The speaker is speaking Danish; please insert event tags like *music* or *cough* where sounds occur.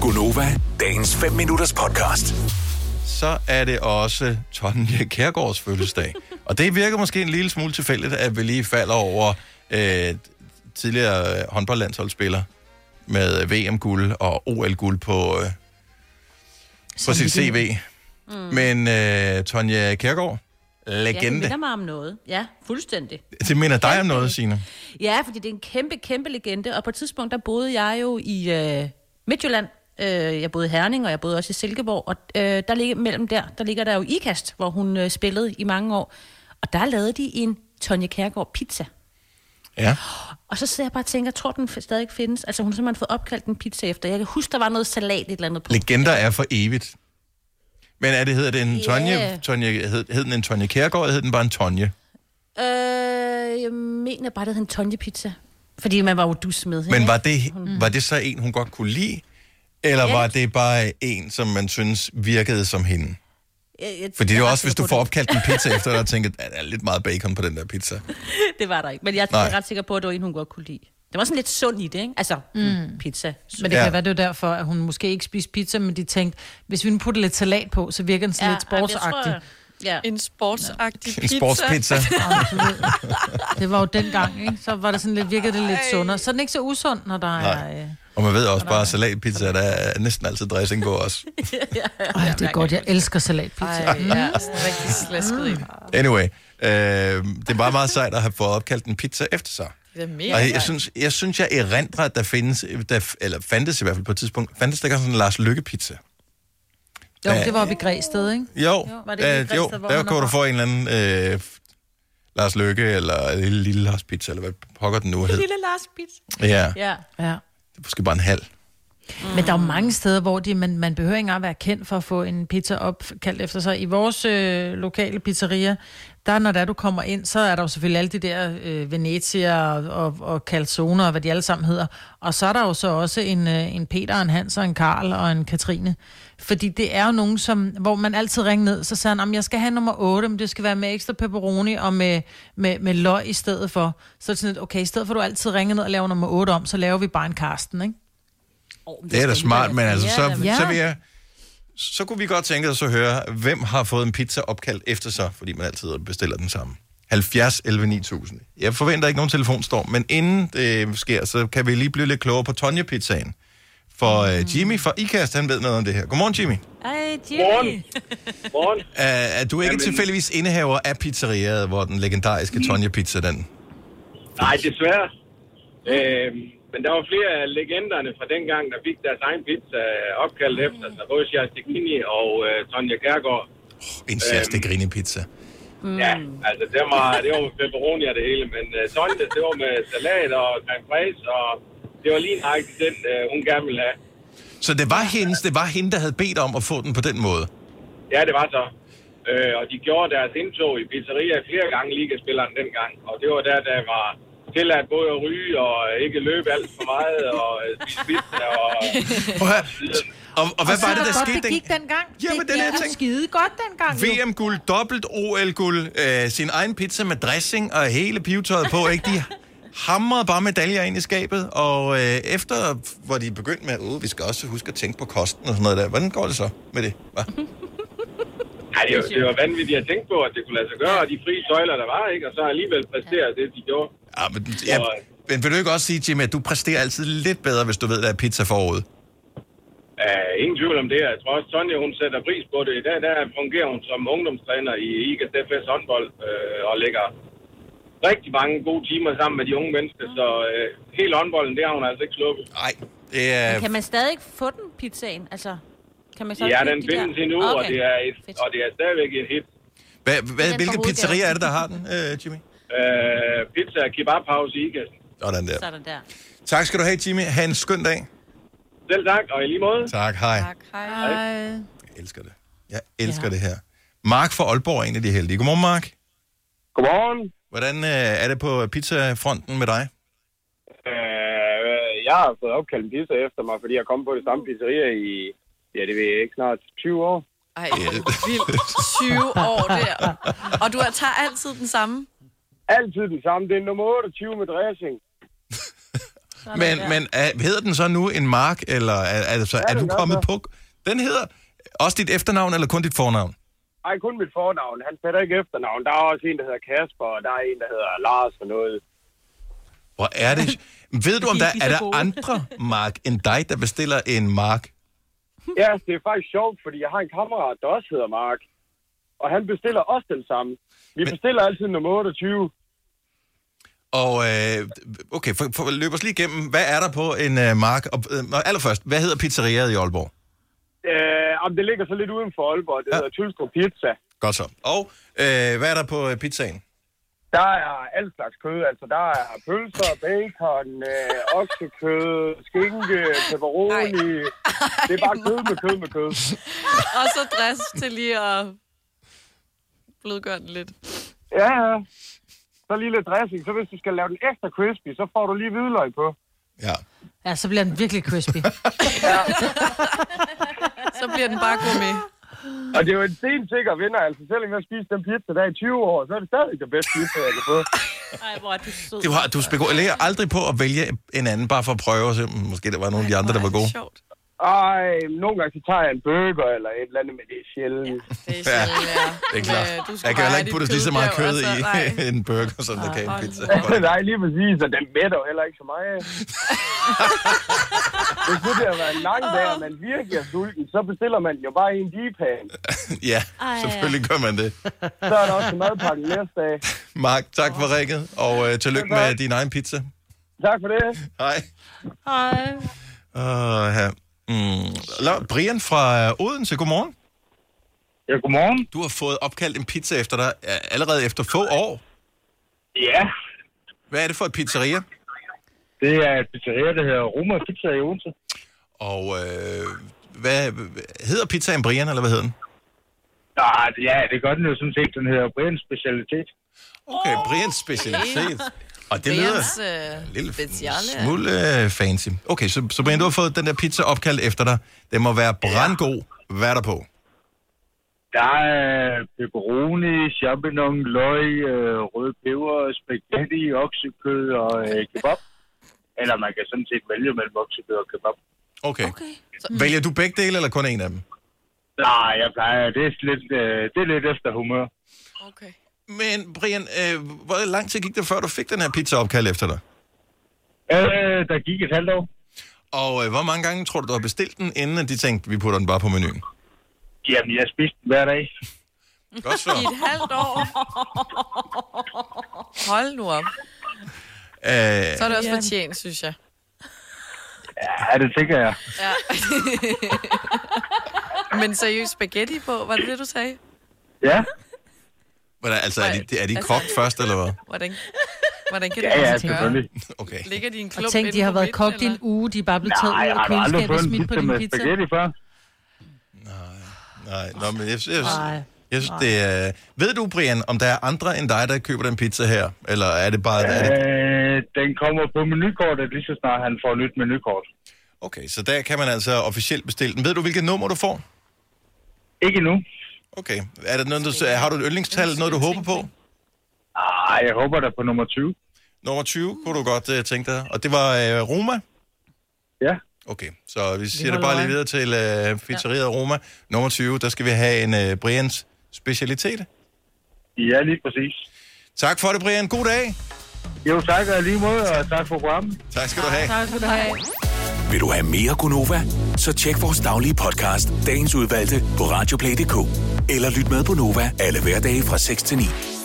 Gunova, dagens 5 minutters podcast. så er det også Tonje Kærgaards fødselsdag. og det virker måske en lille smule tilfældigt, at vi lige falder over øh, tidligere øh, håndboldlandsholdsspiller med VM-guld og OL-guld på, øh, på sit CV. Mm. Men øh, Tonje Kærgaard, Ja, det legende. minder mig om noget. Ja, fuldstændig. Det minder dig om noget, Signe. Ja, fordi det er en kæmpe, kæmpe legende, og på et tidspunkt, der boede jeg jo i øh, Midtjylland. Øh, jeg boede i Herning, og jeg boede også i Silkeborg, og øh, der ligger mellem der, der ligger der jo Ikast, hvor hun øh, spillede i mange år. Og der lavede de en Tonje Kærgaard pizza. Ja. Og så sidder jeg bare og tænker, tror den f- stadig findes? Altså hun har simpelthen fået opkaldt en pizza efter. Jeg kan huske, der var noget salat et eller andet på. Legender er for evigt. Men er det, hedder det en yeah. Tonje? Ja. Tonje hed, hed den en Tonje Kærgaard, eller hed den bare en Tonje? Øh, jeg mener bare, det hed en Tonje pizza. Fordi man var jo dus med. Men ikke? var det, var det så en, hun godt kunne lide? Eller Mm. Ja. var det bare en, som man synes virkede som hende? Jeg- jeg- Fordi det er jeg jo ret også, hvis sikker du på, får det- opkaldt en *laughs* pizza efter dig og tænker, der er lidt meget bacon på den der pizza. det var der ikke. Men jeg Nej. er ret sikker på, at det var en, hun godt kunne lide. Det var sådan lidt sund i det, ikke? Altså, mm. pizza. Men Ja. det ja. kan være, det er derfor, at hun måske ikke spiste pizza, men de tænkte, hvis vi nu putter lidt salat på, så virker den sådan ja, lidt sportsagtig. Jeg, *laughs* ja. En sportsagtig En sportspizza. Det var jo dengang, ikke? Så var det sådan lidt, virkede det lidt sundere. Så er den ikke så usund, når der er... Øh... Og man ved også bare, at salatpizza, der er næsten altid dressing på os. Ej, det er godt, jeg elsker salatpizza. Ej, ja, sådan rigtig slasket i. Anyway, øh, det er bare meget sejt at have fået opkaldt en pizza efter sig. Det er mega Og jeg sejt. synes, jeg, synes, jeg erindrer, at der findes, der, eller fandtes i hvert fald på et tidspunkt, fandtes der ikke også sådan en Lars Lykke-pizza? Jo, det var oppe i Græsted, ikke? Jo, Var det ikke øh, Græsted, jo hvor der man kunne du har- få en eller anden øh, Lars Løkke, eller lille, lille Lars Pizza, eller hvad pokker den nu hed. Lille Lars Pizza. Ja, det ja. Ja. er måske bare en halv. Men der er jo mange steder, hvor de, man, man behøver ikke engang være kendt for at få en pizza opkaldt efter sig. I vores øh, lokale pizzeria, der når der du kommer ind, så er der jo selvfølgelig alle de der øh, Venezia og, og, og calzone og hvad de alle sammen hedder. Og så er der jo så også en, øh, en Peter, en Hans og en Karl og en Katrine. Fordi det er jo nogen, som, hvor man altid ringer ned, så siger han, "Jamen, jeg skal have nummer 8, men det skal være med ekstra pepperoni og med, med, med løg i stedet for. Så er det sådan lidt, okay, i stedet for at du altid ringer ned og laver nummer 8 om, så laver vi bare en Karsten, ikke? Oh, Det er da smart, men altså, så, Ja. så vil jeg... Så kunne vi godt tænke os at høre, hvem har fået en pizza opkaldt efter sig, fordi man altid bestiller den samme. 70 11 9000. Jeg forventer ikke nogen telefonstorm, men inden det sker, så kan vi lige blive lidt klogere på Tonje Pizzaen. For øh, Jimmy fra IKAST, han ved noget om det her. Godmorgen, Jimmy. Ej, *laughs* Morgen. Jimmy. Morgen. Er, Øh, er du ikke Jamen. tilfældigvis indehaver af pizzeriaet, hvor den legendariske Tonje Pizza, den... Nej, desværre. Øhm, men der var flere af legenderne fra dengang, der fik deres egen pizza øh, opkaldt efter sig. Både Sjælstekini og øh, Tonja Kærgaard. En sjæste grinepizza. Mm. Ja, altså det var, det var med pepperoni og det hele. Men øh, Tonja, det var med salat og creme fraise, og det var lige nøjagtigt den, øh, hun gerne ville have. Så det var, hendes, det var hende, der havde bedt om at få den på den måde. Ja, det var så. Øh, og de gjorde deres indtog i pizzeria flere gange ligaspilleren dengang. Og det var der, der var tilladt både at ryge og ikke løbe alt for meget og øh, spise pizza og... Prøv at høre. Og, og hvad Og så var er det, der godt, skete? det gik den- dengang. Jamen, det er det, jeg gik tænkte. skide godt dengang. jo. VM-guld, dobbelt OL-guld, øh, sin egen pizza med dressing og hele pivetøjet på, ikke? De hamrede bare medaljer ind i skabet, og øh, efter, hvor de begyndte med, at vi skal også huske at tænke på kosten og sådan noget der, hvordan går det så med det? Hva? *laughs* Ja, det, var, det var vanvittigt at tænke på, at det kunne lade sig gøre, og de frie tøjler, der var, ikke? Og så alligevel præstere det, de gjorde. Ja, men, ja, men vil du ikke også sige, Jimmy, at du præsterer altid lidt bedre, hvis du ved, der er pizza forud? Uh, ingen tvivl om det. Jeg tror også, Sonja, hun sætter pris på det. I dag der fungerer hun som ungdomstræner i IGAS FS håndbold øh, og lægger rigtig mange gode timer sammen med de unge mennesker. Så øh, hele håndbolden, det har hun altså ikke sluppet. Nej, det er... Kan man stadig ikke få den, pizzaen? Altså, kan man så Ja, købe den de findes der? endnu, okay. og, det er et, Fedt. og det er stadigvæk et hit. Hvad, hvad, Den hvilke fra pizzerier hovedgaden. er det, der har den, øh, Jimmy? Øh, pizza kebab house i IGAS. Sådan Så der. er den der. Tak skal du have, Jimmy. Ha' en skøn dag. Selv tak, og i lige måde. Tak, hej. Tak, hej. Ej. Jeg elsker det. Jeg elsker ja. det her. Mark fra Aalborg er en af de heldige. Godmorgen, Mark. Godmorgen. Hvordan øh, er det på pizzafronten med dig? Øh, jeg har fået opkaldt en pizza efter mig, fordi jeg kom på det samme pizzeria i, ja, det ved jeg ikke, snart 20 år. Ej, vildt. 20 år der. Og du har- tager altid den samme. Altid den samme. Det er nummer 28 med dressing. Men, men er, hedder den så nu en mark, eller er, altså, er den du gør kommet så. på... Den hedder også dit efternavn, eller kun dit fornavn? Ej, kun mit fornavn. Han spiller ikke efternavn. Der er også en, der hedder Kasper, og der er en, der hedder Lars og noget. *laughs* Hvor er det... *laughs* Ved du, om De er der lige er så der gode. andre mark end dig, der bestiller en mark? Ja, det er faktisk sjovt, fordi jeg har en kammerat, der også hedder Mark. Og han bestiller også den samme. Vi Men- bestiller altid nummer 28. Og øh, okay, for, for, løb os lige igennem. Hvad er der på en øh, mark? Og, øh, og allerførst, hvad hedder pizzeriaet i Aalborg? Øh, om det ligger så lidt uden for Aalborg. Det Ja. ja. hedder Tylstrup Pizza. Godt så. Og øh, hvad er der på øh, pizzaen? Der er alt slags kød. Altså, der er pølser, bacon, øh, oksekød, skinke, pepperoni. Det er bare kød med kød med kød. Og så dress til lige at blødgøre den lidt. Ja, ja. Så lige lidt dressing. Så hvis du skal lave den ekstra crispy, så får du lige hvidløg på. Ja. Ja, så bliver den virkelig crispy. Så bliver den bare god med. Og det er jo en stensikker vinder. Altså, selvom jeg spiste den pizza der i 20 år, så er det stadig den bedste pizza, jeg kan få. Ej, hvor er du sød. Du, har, du spekulerer aldrig på at vælge en anden, bare for at prøve, og se, "Mm, måske der var nogle af de andre, der var gode. Sjovt. Ej, nogle gange så tager jeg en burger eller et eller andet, men det er sjældent. Det er Ja, sjældent, ja. Det er klart. Øh, du skal Jeg kan heller bare ikke have putte dit lige så meget kød kød der, i *laughs* og så- nej. en burger, som der kan i en pizza. Ja. *laughs* Nej, lige præcis, og den mætter jo heller ikke så meget. af. Det kunne da være en lang dag, og man virkelig er sulten, så bestiller man jo bare en dipan. Ja, selvfølgelig gør man det. Så er der også en madpakke næste dag. Mark, tak for rækket, og øh, tillykke med din egen pizza. Tak for det. Hej. Hej. Uh, ja. mm. Nå, Brian fra øh, Odense, godmorgen. Ja, godmorgen. Du har fået opkaldt en pizza efter dig øh, allerede efter få år. Ja, Hvad er det for et pizzeria? det er et pizzeria, der hedder Roma Pizza i Odense. Og øh, hvad hedder pizzaen Brian, eller hvad hedder den? Nej, ja, det gør den jo sådan set. Den hedder Brians Specialitet. Okay, Brians specialitet. Og det lyder Brians, øh, en lille speciale. smule øh, fancy. Okay, så, så Brian, du har fået den der pizza opkaldt efter dig. Den må være brandgod. Hvad er der på? Der er pepperoni, champignon, løg, øh, rød peber, spaghetti, oksekød og øh, kebab. Eller man kan sådan set vælge mellem oksekød og kebab. Okay. okay. Vælger du begge dele, eller kun en af dem? Nej, jeg plejer, det er lidt, øh, det er lidt efter humør. Okay. Men Brian, øh, hvor lang tid gik det, før du fik den her pizza opkaldt efter dig? Øh, der gik et halvt år. Og øh, hvor mange gange tror du, du har bestilt den, inden at de tænkte, vi putter den bare på menuen? Jamen, jeg spiste den hver dag. Godt I så. et halvt år. Hold nu op. Æh, Så er det også fortjent, synes jeg. Ja, det tænker jeg. Ja. Men seriøst spaghetti på, var det det, du sagde? Ja, hvordan, altså, er de, er de kogt først, eller hvad? Hvordan, hvordan kan ja, det ja Altså, lade sig gøre? selvfølgelig. Okay. Ligger de i en klump Og tænk, inde de har på været midten, kogt i en eller? uge, de er bare blevet taget Nej, ud har af du aldrig køleskabet og fået en smidt på pizza din med pizza. spaghetti før? Nej, nå, men jeg, jeg, jeg, Nej. jeg synes, det er... Ved du, Brian, om der er andre end dig, der køber den pizza her? Eller er det bare... Er det, Øh, den kommer på menukortet lige så snart han får nyt menukort. okay, så der kan man altså officielt bestille den. Ved du, hvilket nummer du får? Ikke endnu. Okay. Er det noget, du, har du et yndlingstal, noget du håber på? Ej, jeg håber da på nummer 20. Nummer 20 kunne du godt uh, tænke dig. Og det var uh, Roma? Ja. Okay, så vi siger det bare lige videre til uh, pizzeriet Roma. Nummer 20, der skal vi have en uh, Brians specialitet. Ja, lige præcis. Tak for det, Brian. God dag. Jo, tak og i lige måde, og tak for programmet. Tak skal du have. Tak skal du have. Vil du have mere Gunova? Så tjek vores daglige podcast, dagens udvalgte, på radioplay.dk. Eller lyt med på Nova alle hverdage fra 6 til 9.